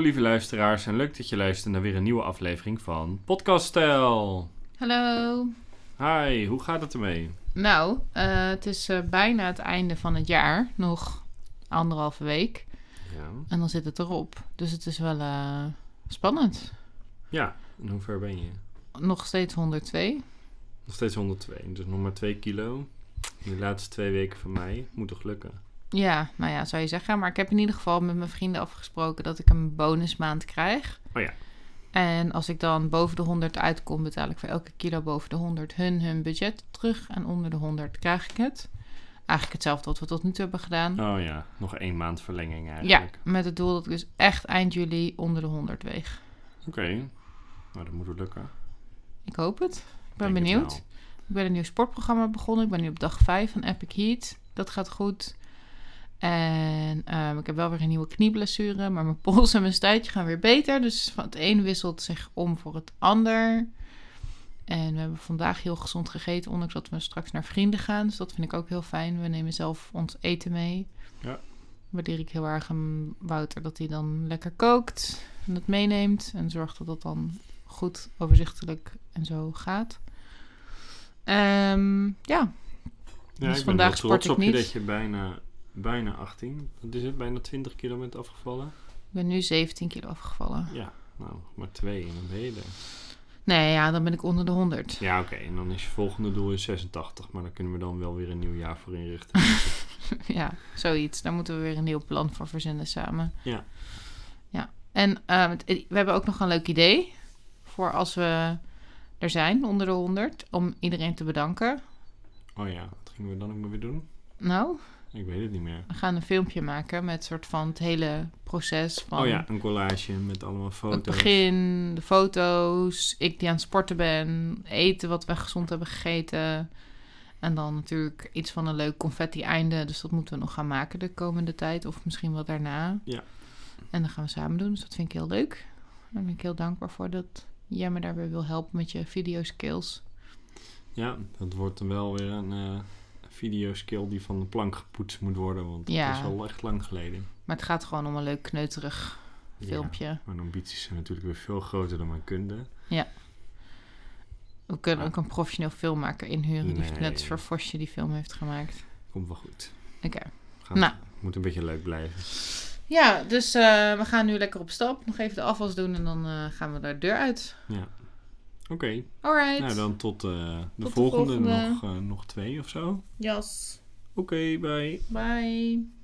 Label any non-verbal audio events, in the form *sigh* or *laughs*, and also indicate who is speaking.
Speaker 1: lieve luisteraars en leuk dat je luistert naar weer een nieuwe aflevering van Podcast Stijl.
Speaker 2: Hallo.
Speaker 1: Hi, hoe gaat het ermee?
Speaker 2: Nou, eh, het is eh, bijna het einde van het jaar. Nog anderhalve week.
Speaker 1: Ja.
Speaker 2: En dan zit het erop. Dus het is wel eh, spannend.
Speaker 1: Ja, en hoe ver ben je?
Speaker 2: Nog steeds 102.
Speaker 1: Nog steeds 102, dus nog maar 2 kilo. In de laatste twee weken van mei. Moet toch lukken?
Speaker 2: Ja, nou ja, zou je zeggen. Maar ik heb in ieder geval met mijn vrienden afgesproken dat ik een bonusmaand krijg.
Speaker 1: Oh ja.
Speaker 2: En als ik dan boven de 100 uitkom, betaal ik voor elke kilo boven de 100 hun hun budget terug. En onder de 100 krijg ik het. Eigenlijk hetzelfde wat we tot nu toe hebben gedaan.
Speaker 1: Oh ja, nog één maand verlenging
Speaker 2: Ja,
Speaker 1: eigenlijk.
Speaker 2: met het doel dat ik dus echt eind juli onder de 100 weeg.
Speaker 1: Oké, nou dat moet wel lukken.
Speaker 2: Ik hoop het. Ik ben
Speaker 1: Denk het
Speaker 2: benieuwd.
Speaker 1: wel.
Speaker 2: Ik ben een nieuw sportprogramma begonnen. Ik ben nu op dag 5 van Epic Heat. Dat gaat goed. En ehm, ik heb wel weer een nieuwe knieblessure. Maar mijn *laughs* pols en mijn stuitje gaan weer beter. Dus van het een wisselt zich om voor het ander. En we hebben vandaag heel gezond gegeten. Ondanks dat we straks naar vrienden gaan. Dus dat vind ik ook heel fijn. We nemen zelf ons eten mee.
Speaker 1: Ja.
Speaker 2: Waardeer ik heel erg aan Wouter dat hij dan lekker kookt. En dat meeneemt. En zorgt dat dat dan goed, overzichtelijk en zo gaat. Ehm, ja,
Speaker 1: Ja,
Speaker 2: Dus
Speaker 1: ik ben
Speaker 2: vandaag
Speaker 1: wel trots
Speaker 2: sport ik
Speaker 1: op je
Speaker 2: niet.
Speaker 1: dat je bijna, bijna 18, wat is het, bijna 20 kilo bent afgevallen.
Speaker 2: ik ben nu 17 kilo afgevallen.
Speaker 1: Ja, nou, maar twee en dan ben je er.
Speaker 2: Nee, ja, dan ben ik onder de 100.
Speaker 1: Ja, oké. En dan is je volgende doel is 86. Maar daar kunnen we dan wel weer een nieuw jaar voor inrichten.
Speaker 2: *laughs* ja, zoiets. Daar moeten we weer een heel plan voor verzinnen samen.
Speaker 1: Ja.
Speaker 2: Ja. En ehm, het- we hebben ook nog een leuk idee voor als we er zijn onder de 100 om iedereen te bedanken.
Speaker 1: Oh ja, wat gingen we dan ook maar weer doen?
Speaker 2: Nou,
Speaker 1: Ik weet het niet meer.
Speaker 2: we gaan een filmpje maken met soort van het hele proces van
Speaker 1: Oh ja, een collage met allemaal foto's.
Speaker 2: Het begin, de foto's, ik die aan het sporten ben, eten wat we gezond hebben gegeten. En dan natuurlijk iets van een leuk confetti-einde. Dus dat moeten we nog gaan maken de komende tijd. Of misschien wel daarna.
Speaker 1: Ja.
Speaker 2: En dat gaan we samen doen. Dus dat vind ik heel leuk. Daar ben ik heel dankbaar voor dat jij me daarbij wil helpen met je video skills.
Speaker 1: Ja, dat wordt dan wel weer een eh videoskill die van de plank gepoetst moet worden. Want
Speaker 2: Ja.
Speaker 1: dat is al echt lang geleden.
Speaker 2: Maar het gaat gewoon om een leuk kneuterig
Speaker 1: Ja,
Speaker 2: filmpje.
Speaker 1: Mijn ambities zijn natuurlijk weer veel groter dan mijn kunde.
Speaker 2: We kunnen ook een professioneel filmmaker inhuren. Die
Speaker 1: Nee.
Speaker 2: net als voor Vosje die film heeft gemaakt.
Speaker 1: Komt wel goed.
Speaker 2: Oké.
Speaker 1: We gaan-
Speaker 2: Nou.
Speaker 1: Moet een beetje leuk blijven.
Speaker 2: Ja, dus eh, we gaan nu lekker op stap. Nog even de afwas doen en dan eh, gaan we de deur uit.
Speaker 1: Oké,
Speaker 2: Alright.
Speaker 1: nou dan tot, eh, de,
Speaker 2: de
Speaker 1: volgende.
Speaker 2: volgende.
Speaker 1: Nog, eh, nog twee of zo. Oké,
Speaker 2: Jas.
Speaker 1: bye.
Speaker 2: Bye.